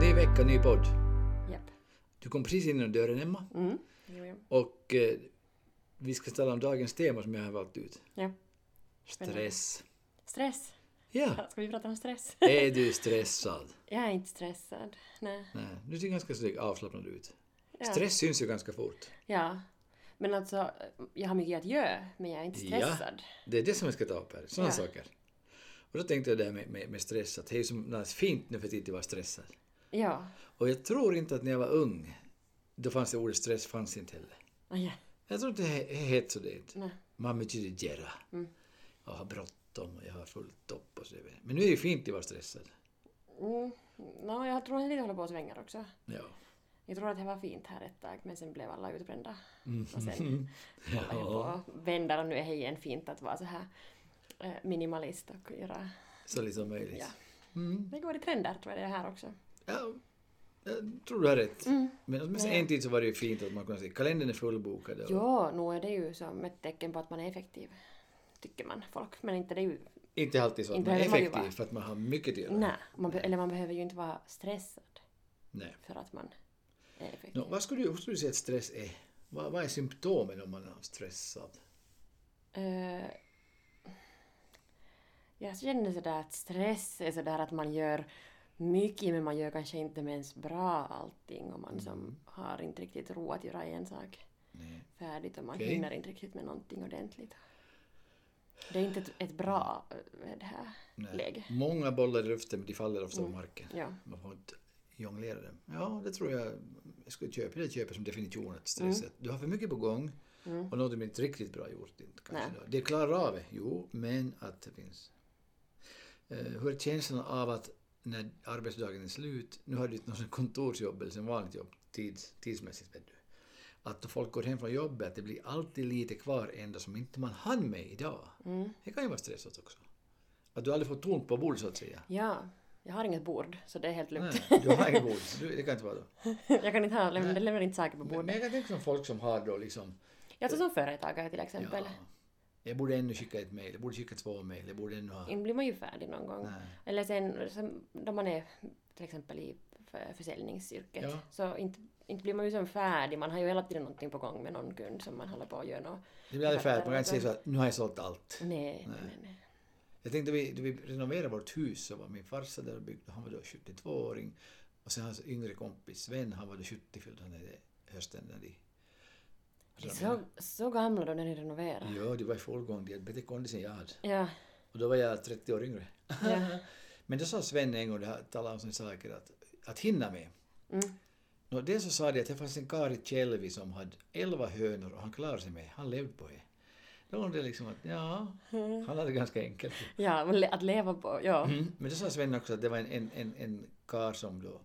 Ny vecka, ny podd. Japp. Du kom precis in genom dörren, Emma. Mm. Jo, jo. Och eh, vi ska tala om dagens tema som jag har valt ut. Ja. Stress. Stress. Ja, Ja, Ska vi prata om stress? är du stressad? Jag är inte stressad. Nej. Nej, du ser ganska snygg avslappnad ut. Ja. Stress syns ju ganska fort. Ja. Men alltså, jag har mycket att göra, men jag är inte Ja. stressad. Det är det som vi ska ta upp här, sådana Ja. saker. Och då tänkte jag det här med, med, med stress, att det är ju som något fint nu för tiden att vara stressad. Ja. Och jag tror inte att när jag var ung, då fanns det ordet stress, fanns inte heller. Ah, ja. Jag tror inte det he- hette så det inte. Nej. Man betyder göra. Mm. Jag har bråttom och jag har fullt upp och så vidare. Men nu är det ju fint att vara stressad. Mm. Nå, jag tror att det håller på att svänga också. Ja. Jag tror att det var fint här ett tag, men sen blev alla utbrända. Mm. Och sen alla höll på och vänder och nu är det igen fint att vara så här eh, minimalist och göra... Så lite som möjligt. Ja. Ja. Mm. Det går i trender tror jag det är här också. Ja, jag tror du har rätt. Mm. Men åtminstone en tid så var det ju fint att man kunde säga kalendern är fullbokad. och Ja, nog är det ju som ett tecken på att man är effektiv, tycker man folk. Men inte det är ju... Inte alltid så att Inte man är behöver man ju effektiv vara. för att man har mycket att göra. Nej, man be- eller man behöver ju inte vara stressad Nej. för att man är effektiv. Nå, vad skulle du, hur skulle du säga att stress är? Vad, vad är symptomen om man är stressad? Eh, jag känner sådär att stress är sådär att man gör mycket men man gör kanske inte med ens bra allting och man som har inte riktigt ro att göra en sak Nej. färdigt och man Okej. hinner inte riktigt med någonting ordentligt. Det är inte ett, ett bra eh, det här Nej. läge. Mm. Många bollar i luften men de faller ofta på marken. Ja. Man får inte jonglera dem. Ja, det tror jag. Jag skulle köpa det köper som definition att stress är att Du har för mycket på gång och något är inte riktigt bra gjort. Inte, kanske Nej. då. det klarar av det, jo, men att det finns. Eh, hur är känslan av att när arbetsdagen är slut, nu har du inte något sånt kontorsjobb eller sånt vanligt jobb tids, tidsmässigt, vet du. Att då folk går hem från jobbet, att det blir alltid lite kvar ändå som inte man hann med idag. Det kan ju vara stressat också. Att du aldrig får tomt på bordet så att säga. Ja, jag har inget bord så det är helt lugnt. Nej, du har inget bord. Du, det kan inte vara då. jag kan inte ha, lämna, lämnar inte saker på Men bordet. jag kan tänka som folk som har då liksom... Jag tror som företagare till exempel. Ja, jag borde ännu skicka ett mejl, jag borde skicka två mejl, jag borde ännu ha... Inte blir man ju färdig någon gång. Nej. Eller sen, sen då man är till exempel i f- försäljningsyrket Ja. så inte, inte blir man ju som färdig. Man har ju hela tiden någonting på gång med någon kund som man håller på att göra något. Det blir aldrig färdigt, man kan inte säga så att nu har jag sålt allt. Nej, nej, nej. nej. Jag tänkte vi, då vi renoverade vårt hus så var min farsa där och byggde, han var då 72-åring. Och sen hans yngre kompis Sven, han var då 70, fyllde han i hösten när de... Det är så, så gamla då när ni renoverar. Ja, det var i full gång, de hade bättre kondis än jag hade. Ja. Och då var jag 30 år yngre. Ja. Men då sa Sven en gång, det här talade om sådana saker, att, att hinna med. Nå, dels så sa de att det fanns en karl i Tjällvi som hade elva hönor och han klarade sig med Han levde på det. Då var det liksom att, ja, han hade ganska enkelt. Mm. ja, men le- att leva på, ja. Mm. Men då sa Sven också att det var en, en, en, en karl som då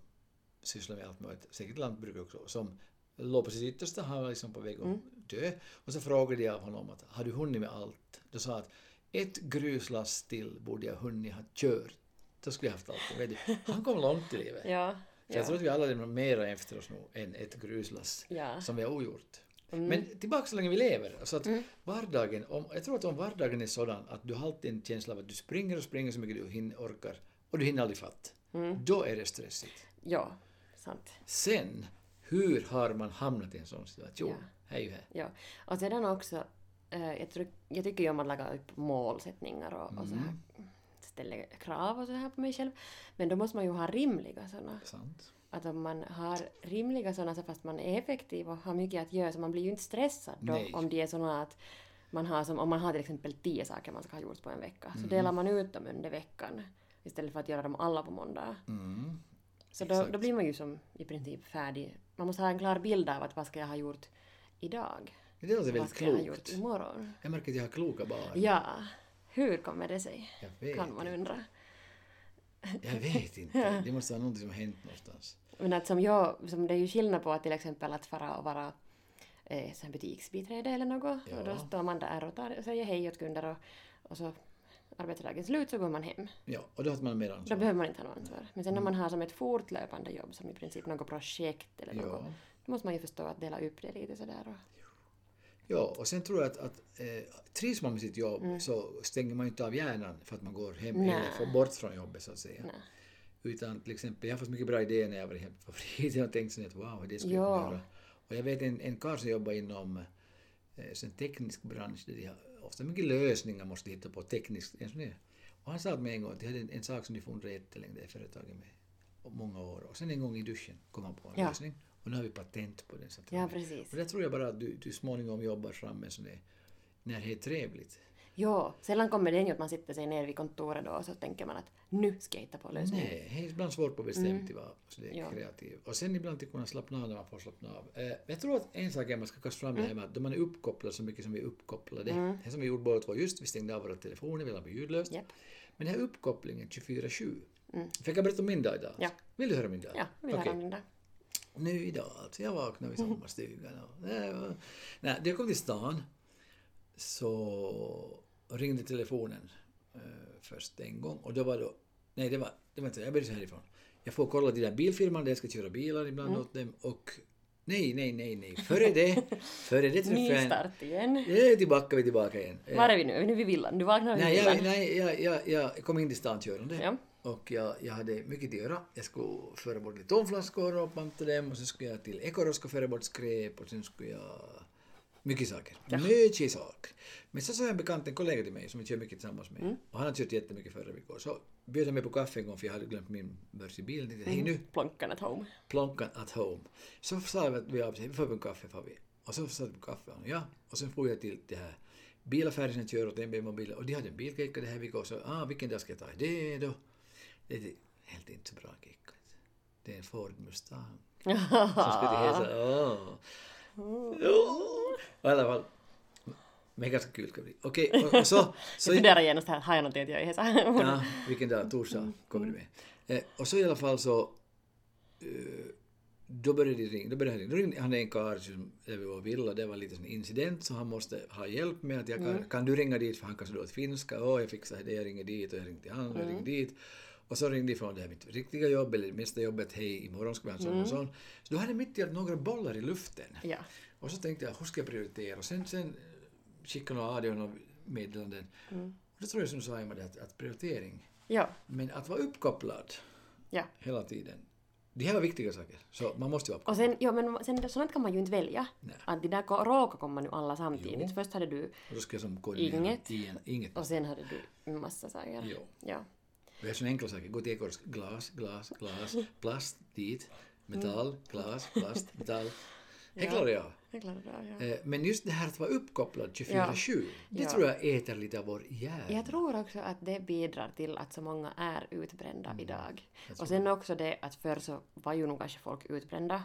sysslade med allt möjligt, säkert lantbruk också, som låg på sitt yttersta, han var liksom på väg att dö. Och så frågade jag honom att har du hunnit med allt? Då sa han att ett gruslass till borde jag hunnit ha kört. Då skulle jag haft allt. Vet du, Han kom långt i livet. Ja. Så jag tror ja. att vi alla lämnar mera efter oss nu än ett gruslass Ja. som vi har ogjort. Mm. Men tillbaka så länge vi lever. Så att vardagen, om, jag tror att om vardagen är sådan att du har alltid en känsla av att du springer och springer så mycket du hinner, orkar och du hinner aldrig fatt. Mm. Då är det stressigt. ja, sant. Sen, hur har man hamnat i en sån situation? Ja. Här är ju här. Ja, och sedan också, eh, jag, tror, jag tycker ju om att lägga upp målsättningar och, och så här, Mm-hmm. ställa krav och så här på mig själv. Men då måste man ju ha rimliga sådana. Sant. Att om man har rimliga sådana så fast man är effektiv och har mycket att göra så man blir ju inte stressad då Nej. om det är sådana att man har som, om man har till exempel tio saker man ska ha gjort på en vecka Mm-hmm. så delar man ut dem under veckan istället för att göra dem alla på måndag. Mm. Så då, Exakt. då blir man ju som i princip färdig. Man måste ha en klar bild av att vad ska jag ha gjort idag? Det låter Vad väldigt ska jag ha gjort klokt. imorgon? Jag märker att jag har kloka barn. Ja, hur kommer det sig? Jag vet Kan man inte. undra. Jag vet inte. Det måste vara någonting som har hänt någonstans. Men att som jag, som det är ju skillnad på att till exempel att fara och vara eh, så här butiksbiträde eller något. Och Ja. då står man där och, tar, och säger hej åt kunder och, och så arbetsdagen slut så går man hem. Ja, Mm. och då har man mer Då ansvar. behöver man inte ha något ansvar. Men sen när man har som ett fortlöpande jobb, som i princip något projekt eller något, Ja. då måste man ju förstå att dela upp det lite sådär. Och, ja, och sen tror jag att, att eh, trivs man med sitt jobb så stänger man ju inte av hjärnan för att man går hem Mm. Nej. eller får bort från jobbet så att säga. nej. Utan till exempel, jag har fått mycket bra idéer när jag varit hemma på fritiden och tänkt sånt att wow, det skulle jag Ja. kunna göra. Och jag vet en, en karl som jobbar inom eh, sån teknisk bransch där de har ofta mycket lösningar måste de hitta på tekniskt. En sån här. Och han sa åt mig en gång att de hade en, en sak som de funderade jättelänge det här företaget med och många år och sen en gång i duschen kom han på en Ja. lösning och nu har vi patent på den. Så att Ja, precis. och det tror jag bara att du, du småningom jobbar fram en sån där, när det är trevligt. Jo, sällan kommer det ju att man sitter sig ner vid kontoret då och så tänker man att nu ska jag hitta på lösningen. Nej, det är ibland svårt att bestämma till vad så det är Mm. Ja. kreativ. Och sen ibland till kunna slappna av när man får slappna av. Eh, jag tror att en sak är man ska kasta fram det Mm. här med att då man är uppkopplad så mycket som vi är uppkopplade. Det som vi gjorde båda två just, vi stängde av våra telefoner, vi la på ljudlöst. Japp. Men den här uppkopplingen 24-7. Fick jag berätta om min dag idag? Mm. Ja. Vill du höra min dag? Ja, vi har Okej. den där. Nu idag, alltså jag vaknade i sommarstugan och... Nej, det var- Nej, när jag kom till stan så ringde telefonen eh, först en gång och då var då... Nej, det var, det var inte Jag började härifrån. Jag får kolla till den här bilfirman där jag ska köra bilar ibland åt dem och... Nej, nej, nej, nej. Före det, före det träffade Ny jag en... start igen. Eh, Tillbaka, vi är tillbaka igen. Eh, Var är vi nu? Är vi nu vid villan? Du vaknar vid Nej, villan. jag, nej jag, jag, jag kom in till stan körande. Ja. Och jag, jag hade mycket att göra. Jag skulle föra bort lite tomflaskor och panta dem och sen skulle jag till Ekoros och föra bort skräp och sen skulle jag... Mycket saker. Mycket saker. Men så sa jag en bekant, en kollega till mig som jag kör mycket tillsammans med och han har kört jättemycket förra veckan. Så bjöd han mig på kaffe en gång för jag hade glömt min börs i bilen. Jag tänkte, Hej nu, Plonkan at home. plonkan at home. Så sa vi att vi avsäger, vi får en kaffe får vi. Och så satt vi på kaffe och ja. Och sen får jag till det här bilaffären som jag kör åt MB-mobilen och de hade en bilkeka det här veckan och så, ah vilken dag ska jag ta det då? Det är helt inte så bra keka. Det är en Ford Mustang. Så skulle de hälsa, åh. Åh. I alla fall. Men ganska kul ska det bli. Okej, och, och så... så Jag funderar genast här, har jag någonting att göra i Hesa? Ja, vilken dag? Torsdag kommer du med. Eh, och så i alla fall så... eh, då började det ringa. Då började han ringa. Då ringde han en karl som där vi var villa. Det var lite sån incident så han måste ha hjälp med att jag kan, kan du ringa dit för han kan så dåligt finska. Åh, jag fixar det. Jag ringer dit och jag ringer till han och jag ringer dit. Och så ringde ifrån det här mitt riktiga jobb eller mesta jobbet. Hej, imorgon ska vi ha en sån och sån. Så då hade jag mitt i allt några bollar i luften. ja. Och så tänkte jag, hur ska jag prioritera? Och sen, sen eh, skickade några radio några meddelanden. Mm. Och då tror jag som Saima det att, att prioritering. Ja. Men att vara uppkopplad Ja. hela tiden. Det här var viktiga saker. Så man måste vara Och uppkopplad. sen, ja men sen, sånt kan man ju inte välja. Nej. Att det där ko- råkar komma nu alla samtidigt. Jo. Först hade du Och då ska jag som koordinera. Inget. Igen, inget. och sen hade du en massa saker. Jo. Ja. Det är såna enkla saker. Gå till Ekorrs. Glas, glas, glas. Plast, dit. Metall, glas, plast, metall. Det Mm. Ja. klarar jag av. Det klarade du av, ja. Eh, Men just det här att vara uppkopplad 24-7, det Ja. tror jag äter lite av vår hjärna. Jag tror också att det bidrar till att så många är utbrända Mm. idag. Alltså, Och sen också det att förr så var ju nog kanske folk utbrända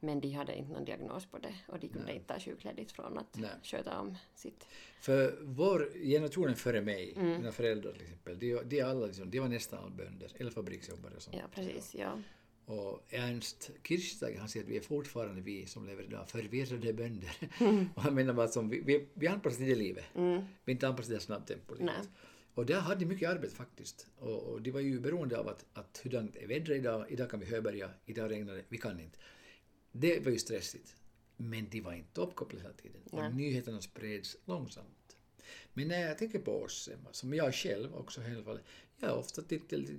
men de hade inte någon diagnos på det och de kunde inte ta sjukledigt från att Nej. sköta om sitt. För vår generationen före mig, Mm. mina föräldrar till exempel, de, de, är alla liksom, de var nästan alla bönder eller fabriksjobbare. Och sånt. Ja, precis. Ja. Och Ernst Kirchsteiger han säger att vi är fortfarande vi som lever idag förvirrade bönder. Och han menar bara att som vi, vi, vi anpassar inte livet. Vi är inte anpassade till snabbt tempo. livet. Nej. Och där hade de mycket arbete faktiskt. Och, och det var ju beroende av att, att hurdant är vädret idag, idag kan vi höbärga, idag regnar det, vi kan inte. Det var ju stressigt. Men de var inte uppkopplade hela tiden. Och nyheterna spreds långsamt. Men när jag tänker på oss, Emma, som jag själv också i alla fall, jag har ofta tittat lite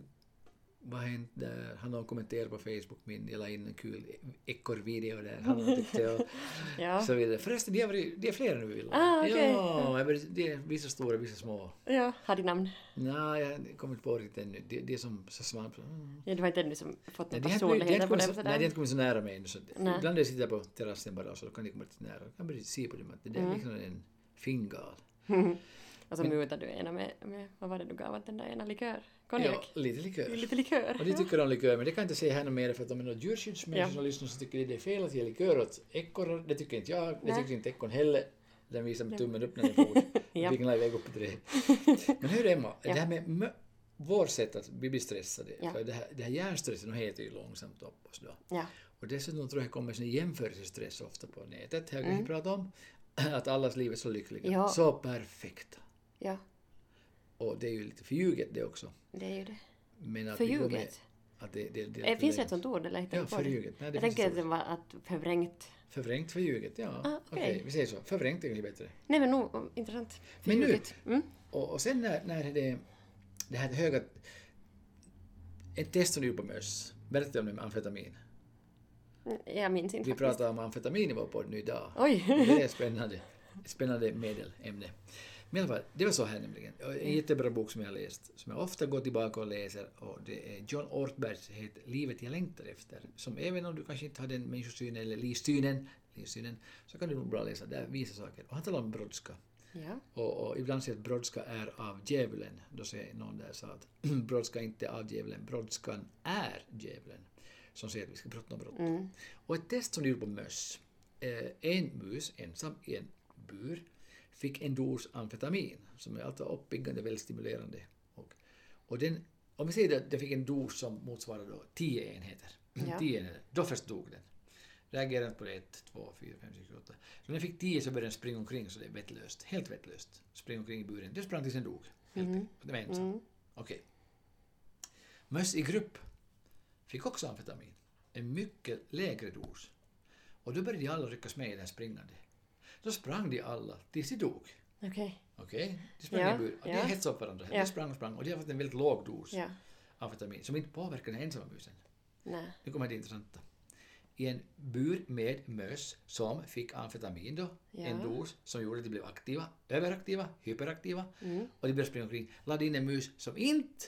vad har hänt där? Han har kommenterat på Facebook min, jag la in en kul ekorrvideo där, han har tyckt det och Ja. så vidare. Förresten, de är, varit- de är flera nu i villan. Ah, okej. Ja, jag vet- de är vissa stora, vissa små. ja. Har de namn? Nej, jag kommer inte på riktigt ännu. Det, det är som så svamp. Mm. Ja, det var inte ännu som fått Nej, det någon har inte blivit- det har inte personlighet på kommit dem så- nej, det har sådär. inte kommit så nära mig ännu. Så Nej. ibland när jag sitter på terrassen bara så då kan det komma lite nära. Jag kan börja se på dem att det där Mm. är liksom en fingal. Mm. Och så mutar du ena med, med, vad var det du gav åt den där ena, likör? Konjak? Ja, lite likör. Lite likör? Och de tycker om likör, men det typ- kan jag inte säga här något mer för att om det är någon djurskyddsmänniska Ja. som lyssnar så tycker de det är fel att ge likör åt ekorrar. Det tycker inte jag, det Nej. tycker inte ekorren heller. Den visar med tummen upp när den for. Ja. Fingrar iväg upp i trädet. Men hur Emma, det här med mö- vår sätt att vi blir stressade, Ja. för det här, det här hjärnstressen den heter ju långsamt upp oss då. Ja. Och dessutom tror jag kommer sån jämförelsestress ofta på nätet, här Mm. kan vi prata om, att allas liv är så lyckliga, Ja. så perfekta. ja. Och det är ju lite förljuget det också. Det är ju det. Men att vi går med Förljuget. att det, det, det, Eh, Finns det ett sånt ord? Eller hittar Ja, du på det? förljuget. Nej, det Jag finns tänkte ett att det var att förvrängt. Förvrängt, förljuget, ja. Ah, Okej, okej. vi säger så. Förvrängt är kanske bättre. Nej men nog om- intressant. Men nu- Förljuget. Mm. Och, och sen när, när det, det här höga... Ett test som du gjorde på möss, berättade om det med amfetamin. Jag minns inte Vi faktiskt. pratar om amfetamin i vår podd nu idag. Oj! Det är spännande. Spännande medelämne. Men i alla fall, det var så här nämligen. Och En jättebra bok som jag har läst, som jag ofta går tillbaka och läser, och det är John Ortbergs het Livet jag längtar efter. Som även om du kanske inte har den människosynen eller livssynen, livssynen så kan du nog bra läsa där, visa saker. Och han talar om brådska. Ja. Och, och ibland säger att brådska är av djävulen. Då säger någon där så att brådska är inte av djävulen, brådskan är djävulen. Som säger att vi ska bråttom bråttom. Mm. Och ett test som de gjorde på möss. Eh, en mus, ensam i en bur, fick en dos amfetamin som är alltid uppiggande, väldigt stimulerande. Och, och den, om vi säger att den fick en dos som motsvarar då 10 enheter. Mm. Ja. 10 enheter. Då först dog den. Reagerade inte på det 1, 2, 4, 5, 6, 7, 8. Så när den fick 10 så började den springa omkring så det är vettlöst. Helt vettlöst. Springa omkring i buren. Den sprang tills den dog. Helt Mhm. enkelt. Och den var ensam. Mm. Okej. Möss i grupp fick också amfetamin. En mycket lägre dos. Och då började de alla ryckas med i den springande. Då sprang de alla tills de dog. Okej. Okej? De sprang Ja, i bur. Och ja. De hetsade upp varandra. Ja. De sprang och sprang. Och de har fått en väldigt låg dos Ja. amfetamin som inte påverkar den ensamma musen. Nej. Nu kommer det intressanta. I en bur med möss som fick amfetamin då, en Ja. dos som gjorde att de blev aktiva, överaktiva, hyperaktiva Mm. och de började springa omkring. Lade in en mus som inte,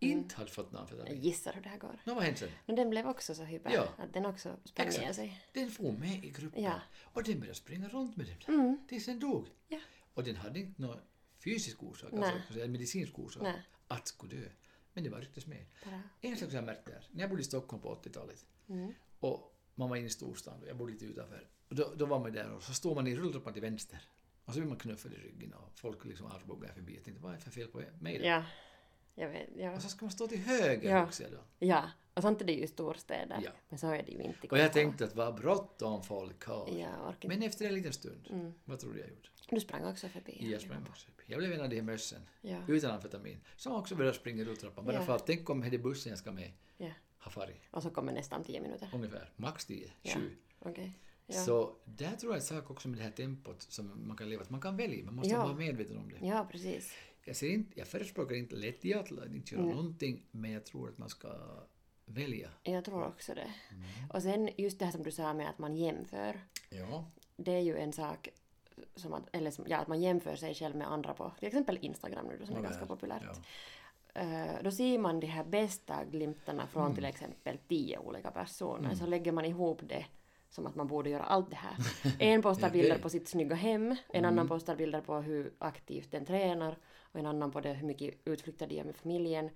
Mm. inte hade fått någon amfetamin. Jag gissar hur det här går. Nå, vad hände sen? Men den blev också så hyper Ja. att den också sprang Exakt. ner sig. Den for med i gruppen Ja. och den började springa runt med den Mm. tills den dog. Ja. Och den hade inte någon fysisk orsak, Nej. alltså en medicinsk orsak, Nej. att skulle dö. Men det var ryktes med. Bara. En sak som jag märkte där, när jag bodde i Stockholm på 80-talet Mm. och man var inne i storstan, jag bodde lite utanför, och då, då var man där och så står man i rulltrappan till vänster och så blir man knuffad i ryggen och folk liksom armbågar förbi. Jag tänkte, vad är det för fel på mig då? Ja. Jag vet. Ja. Och så ska man stå till höger Ja. också då. ja. Och sånt är det ju i storstäder. Ja. Men så är det ju inte. i Och jag Kotala. tänkte att vad bråttom folk har. Ja, jag orkar inte. Men efter en liten stund, Mm. vad tror du jag gjorde? Du sprang också förbi. Jag sprang också upp. Jag blev en av de här mössen, Ja. utan amfetamin, som också började springa i rulltrappan. Bara Ja. för att tänk om det är bussen jag ska med ja. har farit. Och så kommer nästan tio minuter. Ungefär, max 10, Ja. 7. Okej. Ja. Så där tror jag är en sak också med det här tempot som man kan leva, att man kan välja, man måste Ja. vara medveten om det. ja, precis. Jag, ser inte, jag förespråkar inte lättja, att inte göra Mm. någonting, men jag tror att man ska välja. Jag tror också det. Mm. Och sen just det här som du sa med att man jämför. Ja. Det är ju en sak som att, eller som, ja, att man jämför sig själv med andra på till exempel Instagram nu då, som är ganska populärt. Ja. Eh, då ser man de här bästa glimtarna från till exempel tio olika personer, så lägger man ihop det som att man borde göra allt det här. En postar Okej. bilder på sitt snygga hem, en annan postar bilder på hur aktivt den tränar, och en annan på det hur mycket utflykter de gör med familjen,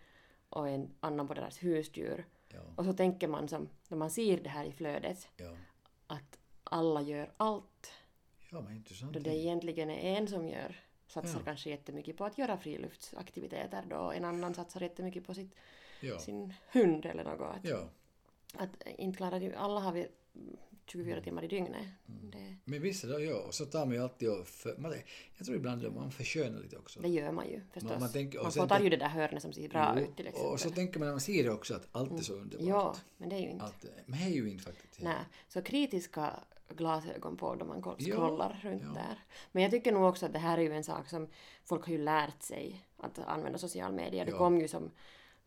och en annan på deras husdjur. Ja. Och så tänker man som, när man ser det här i flödet, Ja. att alla gör allt. ja, men intressant. Då det egentligen är en som gör, satsar Ja. kanske jättemycket på att göra friluftsaktiviteter då, och en annan satsar jättemycket på sitt, Ja. sin hund eller något. Att, ja. att inte klarar ju, alla har vi 24 Mm. timmar i dygnet. Det, Men visst, då, ja. Och så tar man ju alltid och... För, man, jag tror ibland att man förskönar lite också. det gör man ju förstås. man tänker- och man sen får ta tänk- ju det där hörnet som ser bra Jo, ut till exempel. Mm. och så tänker man när man ser det också att allt är så underbart. ja, men det är ju inte. Allt, är- men det är ju inte faktiskt. det. Nej, så kritiska glasögon på då man koll- Ja, scrollar runt ja. där. Men jag tycker nog också att det här är ju en sak som folk har ju lärt sig att använda social media. Det Ja. Mm. kom ju som,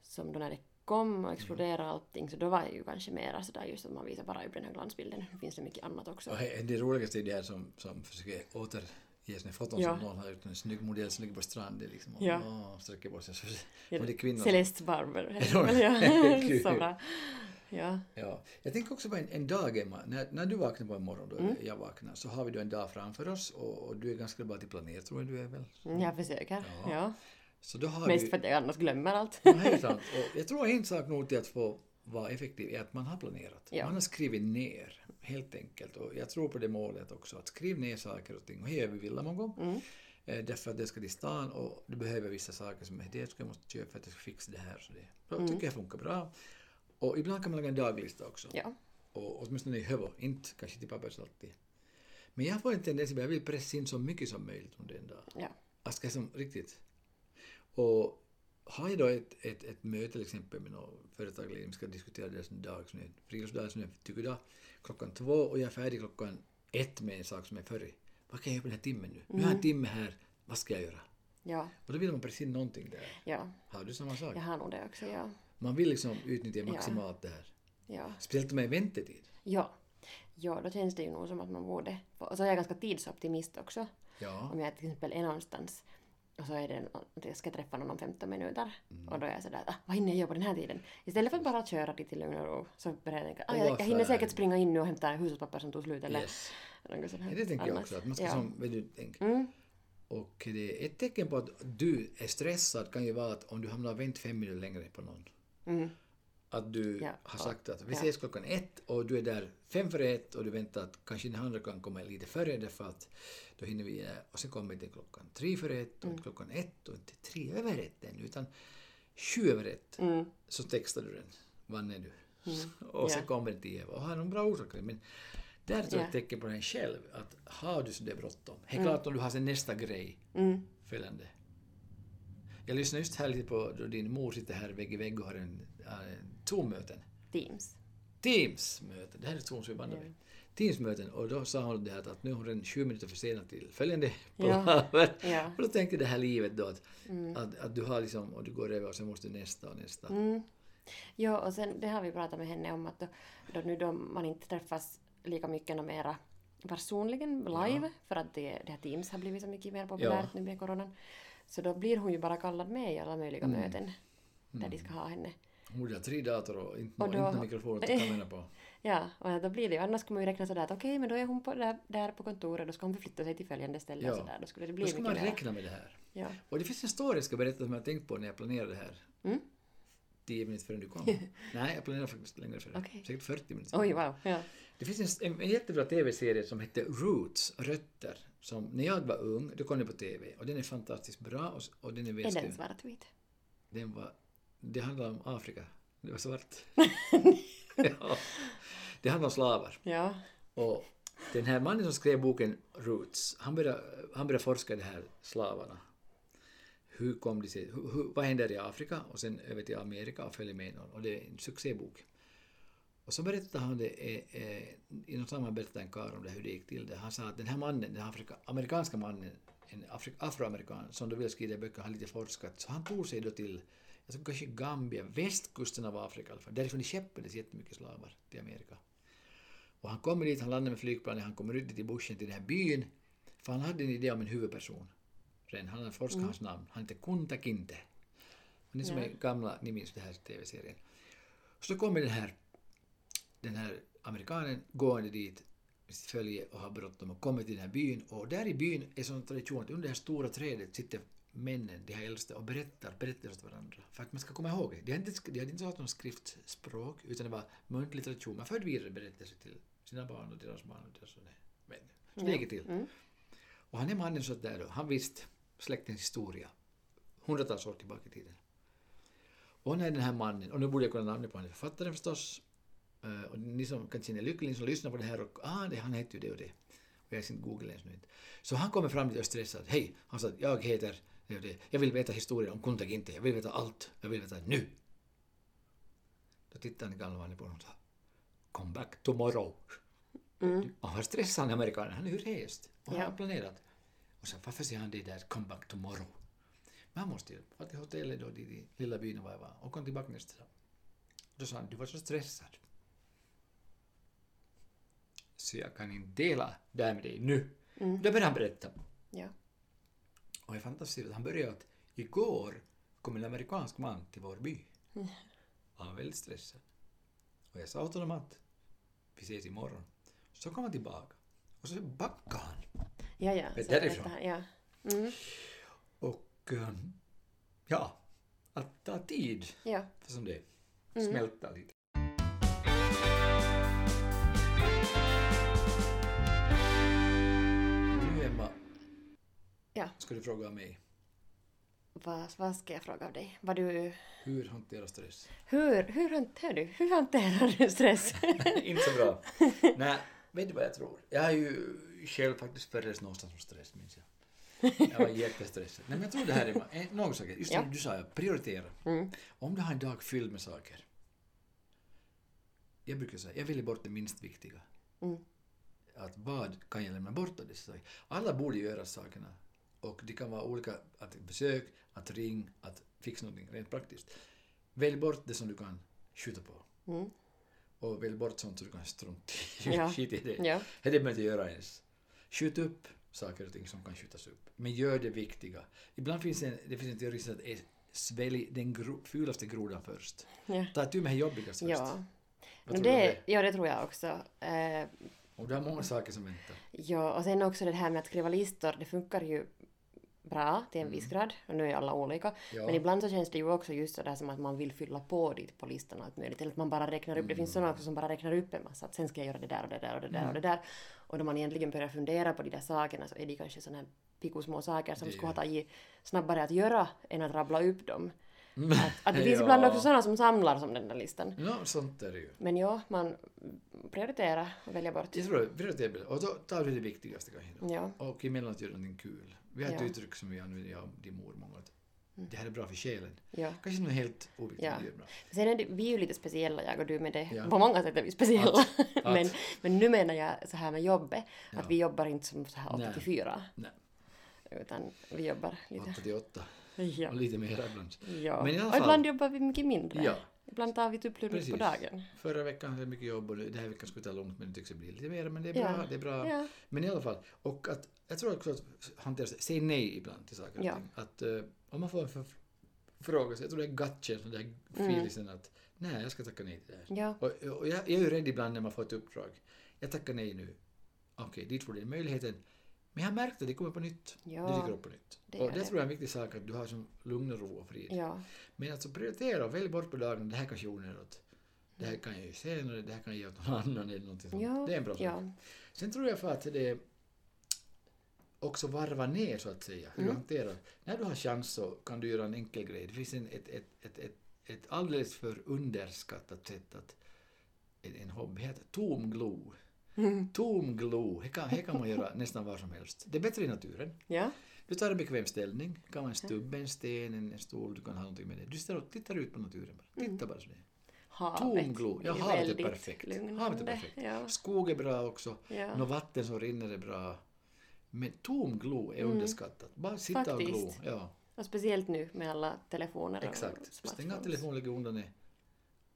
som då när det kom och exploderade allting så då var det ju kanske mera sådär just att man visar bara upp den här glansbilden. Det finns det mycket annat också. Och he- det roligaste är det här som, som försöker återge sina foton Ja. som någon har gjort. En snygg modell som ligger på stranden liksom. Och, Ja. åh, sträcker på sig. Så, Ja, och det är kvinnor. som- Celeste Barber heter Ja, väl, kul. ja. så bra. Ja. Ja. Jag tänker också på en, en dag, Emma. När, när du vaknar på en morgon, då Mm. eller jag vaknar, så har vi då en dag framför oss och, och du är ganska bra till planet tror jag du är väl. Mm, Jag försöker. Ja. Mm. Ja. Så då har Mest du... för att jag annars glömmer allt. Ja, helt sant. Och jag tror en sak nog till att få vara effektiv är att man har planerat. Ja. Man har skrivit ner, helt enkelt. Och jag tror på det målet också, att skriv ner saker och ting. Och här gör vi Villamongo. Mm. Eh, Därför att det ska till stan och du behöver vissa saker som är det ska jag måste köpa för att jag ska fixa det här. Så det så Mm. tycker jag funkar bra. Och ibland kan man lägga en daglista också. Ja. Och åtminstone i huvud, inte kanske till pappers alltid. Men jag får en tendens, jag vill pressa in så mycket som möjligt under en dag. ja. Jag ska som riktigt. Och har jag då ett, ett, ett möte till exempel med någon företagsledning, vi ska diskutera deras dagsnöd, friluftsdagsnöd, tycker jag, klockan två och jag är färdig klockan ett med en sak som är före. Vad kan jag göra på den här timmen nu? Nu har Mm. jag en timme här, vad ska jag göra? Ja, Och då vill man precis någonting där. ja. Har du samma sak? Jag har nog det också, ja. Man vill liksom utnyttja maximalt det här. Ja. Speciellt om det är väntetid. ja. Ja, då känns det ju nog som att man borde... Och så är jag ganska tidsoptimist också. Ja. Om jag till exempel är någonstans och så är det att jag ska träffa någon om 15 minuter Mm. och då är jag sådär ah, vad hinner jag göra på den här tiden? Istället för att bara köra dit i lugn och ro så börjar jag tänka ah, jag, jag hinner Ovanför. säkert springa in nu och hämta hushållspapper som tog slut eller Yes. något sånt Ja, Det tänker jag annat. också, att man ska ja. som, vet du, tänk. Mm. Och det är ett tecken på att du är stressad kan ju vara att om du hamnar och vänt fem minuter längre på någon. Mm. Att du Ja, har ja, sagt att vi ja. ses klockan ett och du är där fem före ett och du väntar att kanske den andra kan komma lite före därför att då hinner vi eh, och sen kommer inte klockan tre före ett och Mm. inte klockan ett och inte tre över ett än utan sju över ett Mm. så textar du den. Vann är du? Och sen Ja. kommer det till Eva och har någon bra orsak till det. Men där tror jag Ja. ett tecken på den själv att har du så det bråttom. Helt klart om du har sen nästa grej Mm. följande. Jag lyssnar just här lite på då din mor sitter här vägg i vägg och har en, en Zoom-möten. Teams. Teams-möten, det här är ett Zoom som vi bandar med. Teams-möten och då sa hon det här att nu är hon redan 20 minuter försenad till följande palaver. Ja. Och då tänkte det här livet då att, att, att du har liksom och du går över och sen måste du nästa och nästa. Mm. Ja, och sen det har vi pratat med henne om att då, då nu då man inte träffas lika mycket och mera personligen live för att det, det här Teams har blivit så mycket mer populärt nu med coronan. Så då blir hon ju bara kallad med i alla möjliga Mm. möten där de ska ha henne. Hon borde ha tre dator och inte, Och och då- inte mikrofon att kamera på. Ja, och då blir det ju annars skulle man ju räkna sådär att okej, men då är hon på, där, där på kontoret, då ska hon förflytta sig till följande ställe och Ja. sådär. Då skulle det bli Då ska mycket man mer. räkna med det här. Ja. Och det finns en story jag ska berätta som jag tänkt på när jag planerade det här. Mm. 10 minuter före du kom. Nej, jag planerade faktiskt längre före. Okej. Säkert 40 minuter. Oj, wow. Ja. Det finns en, en jättebra TV-serie som hette Roots, Rötter. Som, när jag var ung, då kom den på TV. Och den är fantastiskt bra och, och den är Är den välskriven. svartvit? Den var... Det handlar om Afrika. Det var svart. ja. Det handlar om slavar. Ja. Och den här mannen som skrev boken Roots, han började, han började forska de här slavarna. Hur kom de sig, hur, hur, vad händer i Afrika och sen över till Amerika och följer med någon. Och det är en succébok. Och så berättade han det, eh, eh, i något sammanhang berättade en karl om det, hur det gick till det. Han sa att den här mannen, den här Afrika, amerikanska mannen, en Afri, afroamerikan som då ville skriva böcker, har lite forskat. Så han tog sig då till, jag tror kanske Gambia, västkusten av Afrika i alla fall. Därifrån skeppades jättemycket slavar till Amerika. Och han kommer dit, han landar med flygplanet, han kommer ut dit i bushen till den här byn. För han hade en idé om en huvudperson. Redan han hade forskat hans namn. Han hette Kunta Kinte. Och ni som är gamla, ni minns den här TV-serien. Så då kommer den här, den här amerikanen gående dit med sitt följe och har bråttom och kommer till den här byn. Och där i byn är sån tradition att under det här stora trädet sitter männen, de här äldsta, och berättar berättelser åt varandra. För att man ska komma ihåg det. De hade inte, de hade inte haft något skriftspråk, utan det var muntlig tradition. Man förde vidare berättelser till sina barn och deras barn och deras vänner. Så det gick till. Mm. Och han är mannen så där då, han visste släktens historia. Hundratals år tillbaka i tiden. Och han är den här mannen, och nu borde jag kunna namnet på honom, författaren förstås. Eh, Och ni som kanske är lyckliga, ni som lyssnar på det här och ah, det, han heter ju det och det. Och jag ser inte Google ens nu inte. Så han kommer fram dit och är stressad. Hej! Han sa att jag heter det och det. Jag vill veta historien om Kunta Kinte. Jag vill veta allt. Jag vill veta nu. Då tittade den gamla mannen på honom och sa Come back tomorrow. Mm. Och han var stressad den amerikanen, han är ju rest och han Ja. har planerat. Och sen varför säger han det där come back tomorrow? Men han måste ju, var till hotellet då, i den lilla byn var jag var och kom tillbaka nästa dag. Då sa han, du var så stressad. Så jag kan inte dela det här med dig nu. Mm. Då började han berätta. Ja. Och det är fantastiskt, han började att igår kom en amerikansk man till vår by. Och han var väldigt stressad. Och jag sa åt honom att vi ses imorgon. Så kom han tillbaka. Och så backade han. Ja, ja. Men så därifrån? berättar han- Ja. Mm. Och ehm, ja, att ta tid Ja. för som det är. Smälta lite. Nu Emma, Ja. ska du fråga mig. Vad, vad ska jag fråga av dig? Vad du, Hur hanterar stress? hur, hur, hanterar du, hur hanterar du stress? inte så bra. Nej, vet du vad jag tror? Jag har ju själv faktiskt föreläst någonstans om stress, minns jag. Jag var jättestressad. Nej, men jag tror det här är ma- eh, någon sak. Just Ja. som du sa, jag prioriterar. Mm. Om du har en dag fylld med saker. Jag brukar säga, jag väljer bort det minst viktiga. Mm. Att vad kan jag lämna bort av dessa saker? Alla borde göra sakerna. Och det kan vara olika, att besök, att ring, att fixa någonting rent praktiskt. Välj bort det som du kan skjuta på. Mm. Och välj bort sånt som du kan strunta i. Ja. Skit i det. Ja. Det behöver man inte göra ens. Skjut upp saker och ting som kan skjutas upp. Men gör det viktiga. Ibland finns det en, det finns en teori som säger att svälj den gro, fulaste grodan först. Ja. Ta itu med det jobbigaste först. Ja. Vad tror No, du om det, ja, det tror jag också. Eh, Och du har många saker som väntar. ja, och sen också det här med att skriva listor, det funkar ju bra till en viss grad, och nu är alla olika, Mm. Ja. men ibland så känns det ju också just det där som att man vill fylla på dit på listan allt möjligt, eller att man bara räknar upp, det finns Mm. sådana också som bara räknar upp en massa, att sen ska jag göra det där och det där och det där och det där, och då man egentligen börjar fundera på de där sakerna så är det kanske sådana här pikosmå saker som Det- skulle ha tagit snabbare att göra än att rabbla upp dem. Mm. Att, att det finns Ja. ibland också sådana som samlar som den där listan. Ja, sånt är det ju. Men ja, man prioriterar och väljer bort. Jag tror det, vi tar det. Och då tar vi det viktigaste kanske då. Ja, Och emellanåt gör någonting kul. Vi har ett Mm. Ja. uttryck som vi använder, jag och din mor många att det här är bra för själen. ja. Kanske något helt oviktigt Ja. men det är bra. Sen är det, vi är ju lite speciella, jag och du med det. Ja. På många sätt är vi speciella. att. Men, men nu menar jag så här med jobbet, Ja. att vi jobbar inte som så här Nej. 8 till 4. Nej. Utan vi jobbar lite. 8 till 8 Ja. och lite mer ibland. ja. Men i alla och ibland fall- jobbar vi mycket mindre. Ja. Ibland tar vi tupplur mitt på Precis. dagen. Förra veckan hade jag mycket jobb och den här veckan skulle ta långt men det tycks bli lite mer. Men det är Ja. bra, det är bra. Ja. Men i alla fall, och att jag tror också att hantera sig, säg nej ibland till saker och Ja. ting. Att eh, om man får en förf- fråga, så jag tror det är gutchen, den Mm. där feelingen att nej, jag ska tacka nej till det här. Ja. Och, och jag, jag är ju rädd ibland när man får ett uppdrag. Jag tackar nej nu. Okej, dit får du den möjligheten. Men jag har märkt att det kommer på nytt. Ja. Det dyker upp på nytt. Det och gör det, det. tror jag är en viktig sak, att du har som lugn och ro och frid. Ja. Men alltså prioritera och välj bort på dagen, det här kanske är onödigt. Det här kan jag ju senare, det här kan jag ge åt någon annan eller någonting sånt. Ja. Det är en bra sak. ja. Sen tror jag för att det också varva ner så att säga, hur du hanterar. När du har chans så kan du göra en enkel grej. Det finns en, ett, ett, ett, ett, ett alldeles för underskattat sätt att en, en hobby heter tom glo. Tom glo, det kan, det kan man göra nästan var som helst. Det är bättre i naturen. Ja. Du tar en bekväm ställning, det kan vara en stubbe, en sten, en en stol, du kan ha någonting med det. Du ställer, tittar ut på naturen bara, titta bara sådär. Havet. Tom glo, ja är havet är väldigt typ perfekt. Havet är lugnande. perfekt. Ja. Skog är bra också, Ja. Nå vatten som rinner är bra. Men tom glo är underskattat. Bara sitta och glo. Mm. Faktiskt. Ja, Och speciellt nu med alla telefoner och exakt. Stäng av smartphones. telefonen, lägg undan det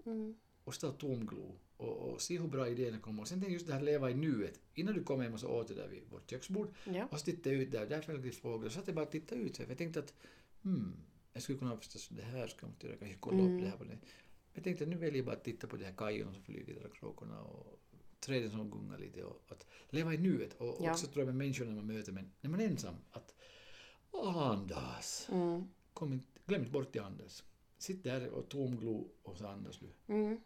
Mm. och stå tom glo. Och, och se hur bra idéerna kommer. Och sen tänk just det här leva i nuet. Innan du kom hem och så åt jag där vid vårt köksbord Ja. och så tittade jag ut där, där flög det fåglar. Så satt jag bara och tittade ut. Så jag tänkte att hmm, jag skulle kunna förstås det här, ska jag inte göra, kanske kolla Mm. upp det här på det. Jag tänkte att nu väljer jag bara att titta på de här kajorna som flyger där och kråkorna och träden som gungar lite och att leva i nuet. Och Ja. också tror jag med människorna man möter, men när man är ensam, att andas. Mm. Kom inte, glöm inte bort att andas. Sitt där och tomglo och så andas du. Mm.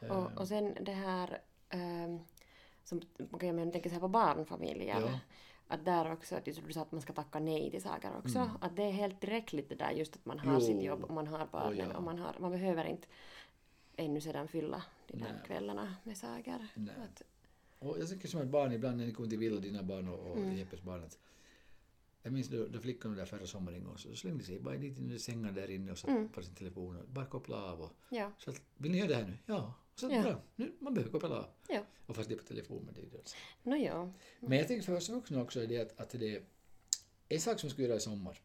Eh. Och, och sen det här ehm, som okay, men jag tänker så här på barnfamiljer. Ja. Att där också, att just du sa att man ska tacka nej till saker också. Att det är helt tillräckligt det där just att man har Mm. Jo. Oh, sitt jobb och man har barnen ja. och man, har, man behöver inte ännu sedan fylla de där Nej. kvällarna med saker. Nej. Att, Och jag tycker som ett barn ibland när ni kommer till Villa, dina barn och, och Mm. Jeppes barn. Att jag minns då, då flickorna där förra sommaren och så slängde sig bara dit i sängen där inne och satt Mm. på sin telefon och bara koppla av. Och, ja, så att, vill ni göra det här nu? Ja. Och så Ja. bra, nu, man behöver koppla av. ja. Mm. Och fast det är på telefon men det är ju det. No, ja. Men jag tänker för oss vuxna också är det att, att det är en sak som jag ska göra i sommar.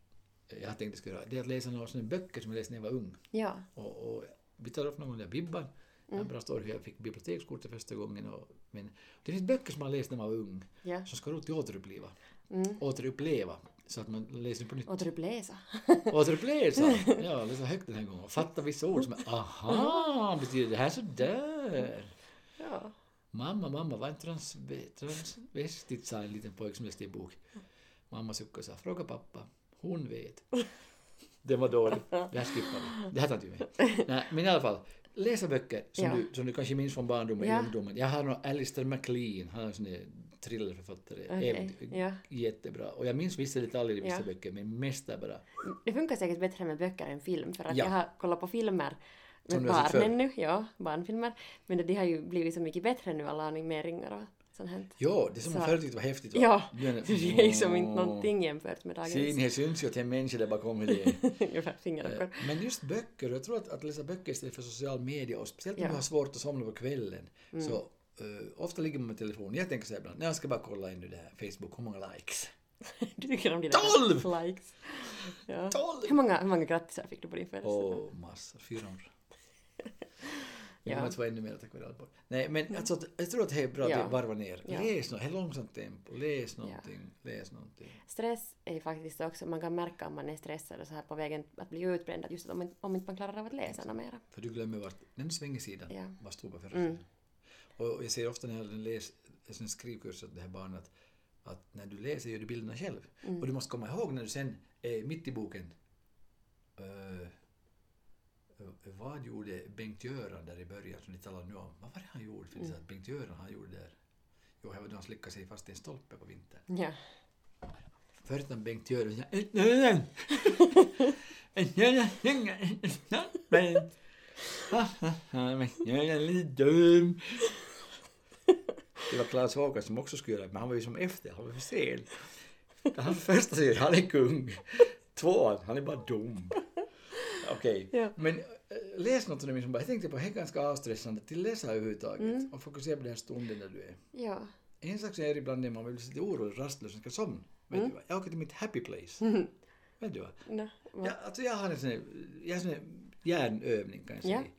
eh, Jag har tänkt att jag ska göra det är att läsa några sådana böcker som jag läste när jag var ung. Ja. Och, och vi tar upp någon gång där Bibban. Mm. Jag bara står hur jag fick bibliotekskortet första gången. Och, men det finns böcker som man läst när man var ung ja. som ska roligt återuppleva. Mm. Återuppleva. Så att man läser på nytt. Och trippläsa. Återuppleva! Ja, läsa högt den här gången. Och fatta vissa ord som är, aha, betyder det här sådär? ja. Mamma, mamma, var en trans, transvestit, sa en liten pojke som läste en bok. Mamma suckade och sa, fråga pappa, hon vet. Det var dåligt. Det här skippar vi. Det här tar inte vi med. Nej, men i alla fall, läsa böcker som, Ja. du, som du kanske minns från barndomen Ja. och ungdomen. Jag har någon Alistair MacLean, han är en sån där thrillerförfattare. Okej. Även- Ja. Jättebra. Och jag minns vissa detaljer i vissa Ja. böcker, men mest där bara. Det funkar säkert bättre med böcker än film för att Ja. jag har kollat på filmer med Som du har sett barnen nu, ja, barnfilmer. Men de har ju blivit så mycket bättre nu alla animeringar och sånt här. Ja, det som man Så- förut tyckte var häftigt va? Ja, Nu är det- det är som inte Åh. någonting liksom. jämfört med Se, dagens. ni syns ju att jag är människa där bakom hur det är. Ungefär fingerdockor. Eh, Men just böcker, jag tror att, att läsa böcker istället för social media och speciellt om Ja. Mm. du har svårt att somna på kvällen så eh, ofta ligger man med telefonen. Jag tänker så här ibland, "Nej, jag ska bara kolla in nu det här Facebook, hur många likes? Du tycker om dina Tolv! likes. Ja. Tolv! Hur många, hur många grattisar fick du på din födelsedag? Åh, massor, 400. Det Ja. kommer att vara ännu mer tack vare Alborg. Nej, men alltså, att- jag tror att det är bra att Ja. vi varvar ner. Ja. Läs något, ha långsamt tempo, läs någonting, läs någonting. Stress är faktiskt också, man kan märka om man är stressad och så här på vägen att bli utbränd, att just att om, inte- om inte man klarar av att läsa något mera. För du glömmer vart, den svänger sidan, Ja. vad stod på förra Mm. sidan. Och jag ser ofta när jag läser en skrivkurs åt det här barnet att, att när du läser gör du bilderna själv. Mm. Och du måste komma ihåg när du sen är mitt i boken. eh, vad gjorde Bengt-Göran där i början som ni talade nu om? Vad var det han gjorde? För det är så att Bengt-Göran han gjorde där? Jo, det var då han slickade sig fast i en stolpe på vintern. Ja. Förut när Bengt gör det Jag är lite dum. Det var Claes Håkan som också skulle göra det, men han var ju som efter, han var för sen. Han första säger han är kung. Tvåan, han är bara dum. Okej, Ja. men äh, läs något som bara, jag tänkte på, det här är ganska avstressande till läsa överhuvudtaget och fokusera på den här stunden där du är. ja. En sak som jag är ibland när man blir lite orolig, rastlös, och ska somna. Vet Mm. du vad? Jag åker till mitt happy place. Mm-hmm. Vet du vad? No. Jag, alltså jag har en sån här, jag har en sån här hjärnövning kan jag säga. Ja.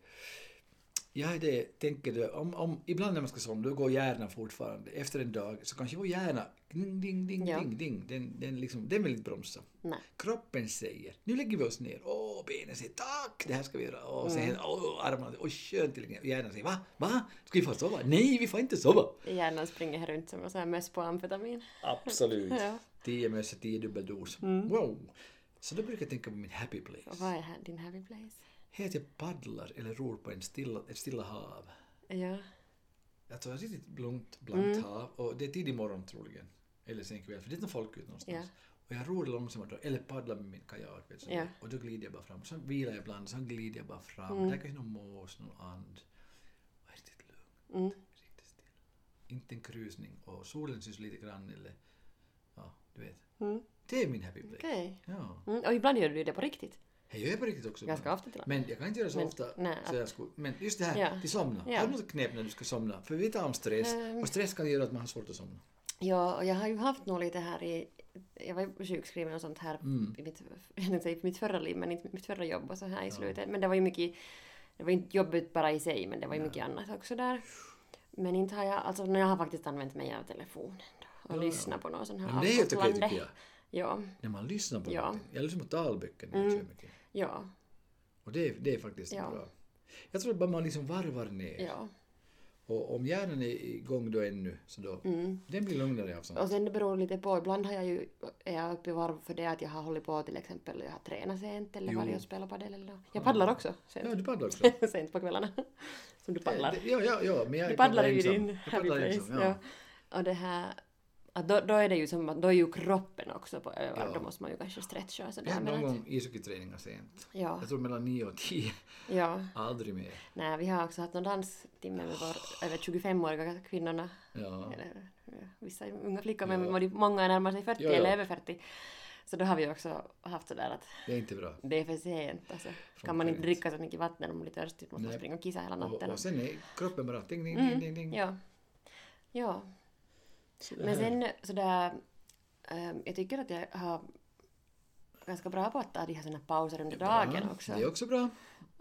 Jag är det, tänker du, om, om, ibland när man ska somna, då går hjärnan fortfarande. Efter en dag så kanske vår hjärna, ding, ding, ding, Ja. ding, ding, den, den, liksom, den vill inte bromsa. Nej. Kroppen säger, nu lägger vi oss ner. Åh, benen säger tack, det här ska vi göra. Mm. Och sen, åh, armarna, åh, skönt. till exempel. Hjärnan säger, va, va, ska vi få sova? Nej, vi får inte sova. Hjärnan springer här runt som en sån här möss på amfetamin. Absolut. Ja. 10 möss är 10 dubbeldos. Mm. Wow! Så då brukar jag tänka på min happy Och place. vad är här, din happy place? Det är att jag paddlar eller ror på en stilla, ett stilla hav. Ja. Alltså ett riktigt blont, blankt Mm. hav. Och det är tidig morgon troligen. Eller sen kväll, för det är inte folk ute någonstans. Och jag ror långsamt då, eller paddlar med min kajak. Vet du, så. Ja. Och då glider jag bara fram. Så vilar jag ibland, så glider jag bara fram. Mm. Där kanske någon mås, någon and. Och riktigt lugnt. Mm. Riktigt stilla. Inte en krusning. Och solen syns lite grann eller... Ja, du vet. Mm. Det är min happy place. Okej. Ja. Mm. Och ibland gör du det på riktigt. Jag gör på riktigt också. Ganska ofta till och med. Men jag kan inte göra så Men- ofta. nej, så jag skulle, men just det här, ah. Ja. till somna. Ja. Har du något knep när du ska somna? För vi vet om stress. Ehm. Och stress kan göra att man har svårt att somna. Ja, och jag har ju haft nog lite här i... Jag var ju sjukskriven och sånt här i mitt, jag tänkte säga i mitt förra liv, men inte mitt förra jobb och så här i slutet. Men det var ju mycket... Det var ju inte jobbigt bara i sig, men det var ju mycket annat också där. Men inte har jag... Alltså, när jag har faktiskt använt mig av telefonen då, och Ja, ja. lyssnat på någon sån här Men det är helt okej avkopplande- tycker jag. Ja, När man lyssnar på Ja. någonting. Jag lyssnar på talböcker när jag kör mycket. ja, Och det är, det är faktiskt Ja. bra. Jag tror bara man liksom varvar ner. ja. Och om hjärnan är igång då ännu, så då, Mm. den blir lugnare av sånt. Och sen det beror lite på, ibland har jag ju, är jag uppe i varv för det att jag har hållit på till exempel, jag har tränat sent eller Jo. varit och spelat padel eller nå. Jag paddlar också Ja, sent, du paddlar också. sent på kvällarna. Som du paddlar. Eh, Ja, ja, ja. Men jag Du paddlar ju i ensam. din Jag happy paddlar place. ensam, ja. Och det här, att då, då är det ju som att, då är ju kroppen också på övervarv, Ja. då måste man ju kanske stretcha och Jag sådär. hade någon Men att, gång ishockeyträningar sent. ja, Jag tror mellan 9 och 10. ja. Aldrig mer. Nej, vi har också haft någon danstimme med vår över 25-åriga kvinnorna. Ja. Eller, ja, vissa är unga flickor, men var det många närmar sig 40 Ja, ja. eller över 40. Så då har vi också haft sådär att Det är inte bra. det är för sent. Alltså, kan man Funkar inte inte. dricka så mycket vatten om man blir törstig måste man Nej. springa och kissa hela Och, natten. Mm. och sen är kroppen bara ding, ding, ding, ding, ding. Ja. ja. Så Men här- sen sådär, ehm, jag tycker att jag har ganska bra på att ta de här såna pauser under dagen Ja, också. Det är också bra.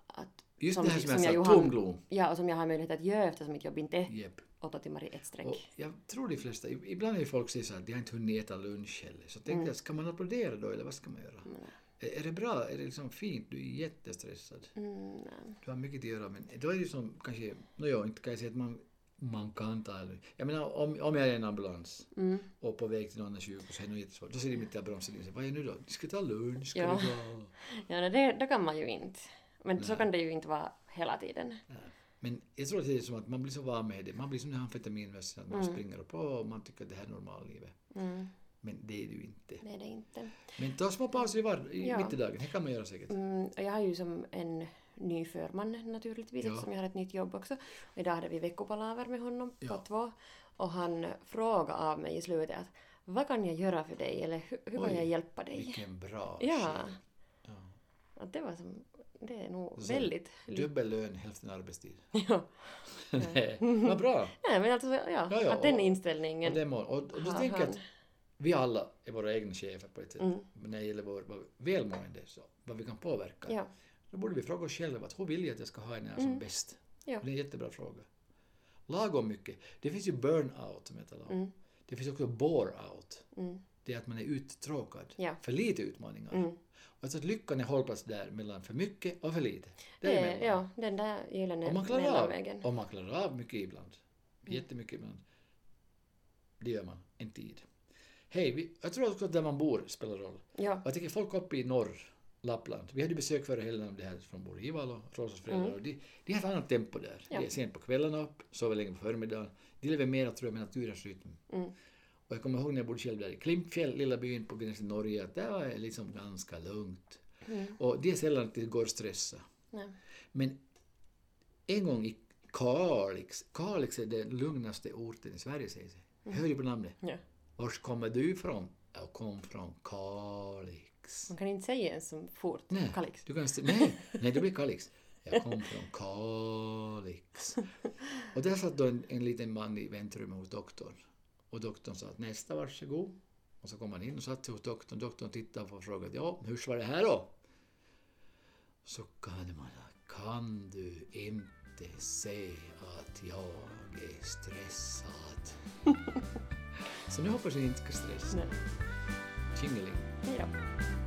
Att, Just det här som, jag, ju sa, hann- tomglo. Ja, och som jag har möjlighet att göra eftersom mitt jobb inte är Jep. åtta timmar i ett sträck. Och jag tror de flesta, i- ibland är ju folk säger så här att de har inte hunnit äta lunch heller. Så tänkte Mm. jag, ska man applådera då eller vad ska man göra? Är är det bra? Är det liksom fint? Du är jättestressad. Mm, nej. Du har mycket att göra men då är det som kanske, nåja, inte kan jag säga att man, man kan ta en lunch. Jag menar om, om jag är i en ambulans och på väg till någon annan sjukhus, så är det nog jättesvårt. Då säger de mitt i bromsen, vad är nu då? Ni ska ta lunch, ska Ja. vi gå? ja, nej, det, då kan man ju inte. Men så kan det ju inte vara hela tiden. Men jag tror att det är som att man blir så van med det. Man blir som den här amfetaminväskan, att man springer upp och man tycker att det här är normallivet. Mm, Men det är det ju inte. nej, det är inte. Men ta små pauser i, var- i Ja. mitt i dagen, det kan man göra säkert. Mm, och jag har ju som en ny förman naturligtvis Ja. eftersom jag har ett nytt jobb också. Och idag hade vi veckopalaver med honom Ja. på två. Och han frågade av mig i slutet att vad kan jag göra för dig eller hur, hur Oj, kan jag hjälpa dig? Vilken bra Ja, tjej. Ja. att det var som, det är nog Så- väldigt... ly- Dubbel lön, hälften arbetstid. Ja. Nej, Vad bra! Nej men alltså, ja, Ja, ja, att den och- inställningen Och, det må, och, och du har tänker han. att vi alla är våra egna chefer på ett sätt. Mm. Men när det gäller vår, vår välmående, så, vad vi kan påverka. Ja, Mm. Då borde vi fråga oss själva att hur vill jag att jag ska ha det när jag är som bäst? Ja. Det är en jättebra fråga. Lagom mycket. Det finns ju burnout som jag talar om. Mm. Det finns också bore-out. mm, Det är att man är uttråkad. Ja. För lite utmaningar. mm. Och så att lyckan är hållplats där mellan för mycket och för lite. Det Däremellan. är, ja, den där gyllene Om man klarar av, mellanvägen. om man klarar av mycket ibland, Mm. jättemycket ibland, det gör man en tid. Hej, vi, jag tror också att där man bor spelar roll. Ja, Jag tänker folk uppe i norr, Lappland, vi hade ju besök förra helgen av det här från Borgival och Rosas föräldrar och de, de har ett annat tempo där. Mm. Ja. Det är sent på kvällarna upp, sover länge på förmiddagen. De lever mer, tror jag, med naturens rytm. Mm. Och jag kommer ihåg när jag bodde själv där i Klimpfjäll, lilla byn på gränsen till Norge, att där var det liksom ganska lugnt. Mm. Och det är sällan att det går att stressa. nej. Men en gång i Kalix, Kalix är den lugnaste orten i Sverige säger sig. Jag hör ju på namnet. Ja. Var kommer du ifrån? Jag kom från Kalix. Man kan inte säga ens som fort, Nej, Kalix. Du kan st- nej, nej, det blir Kalix. Jag kom från Kalix. Och där satt då en, en liten man i väntrummet hos doktorn. Och doktorn sa att nästa varsågod. Och så kom han in och satt sig hos doktorn. Doktorn tittade på och frågade ja, hur var det här då? Så kan man kan du inte se att jag är stressad? så nu hoppas jag inte ska stressa. Nej. Tjingeling. Ja.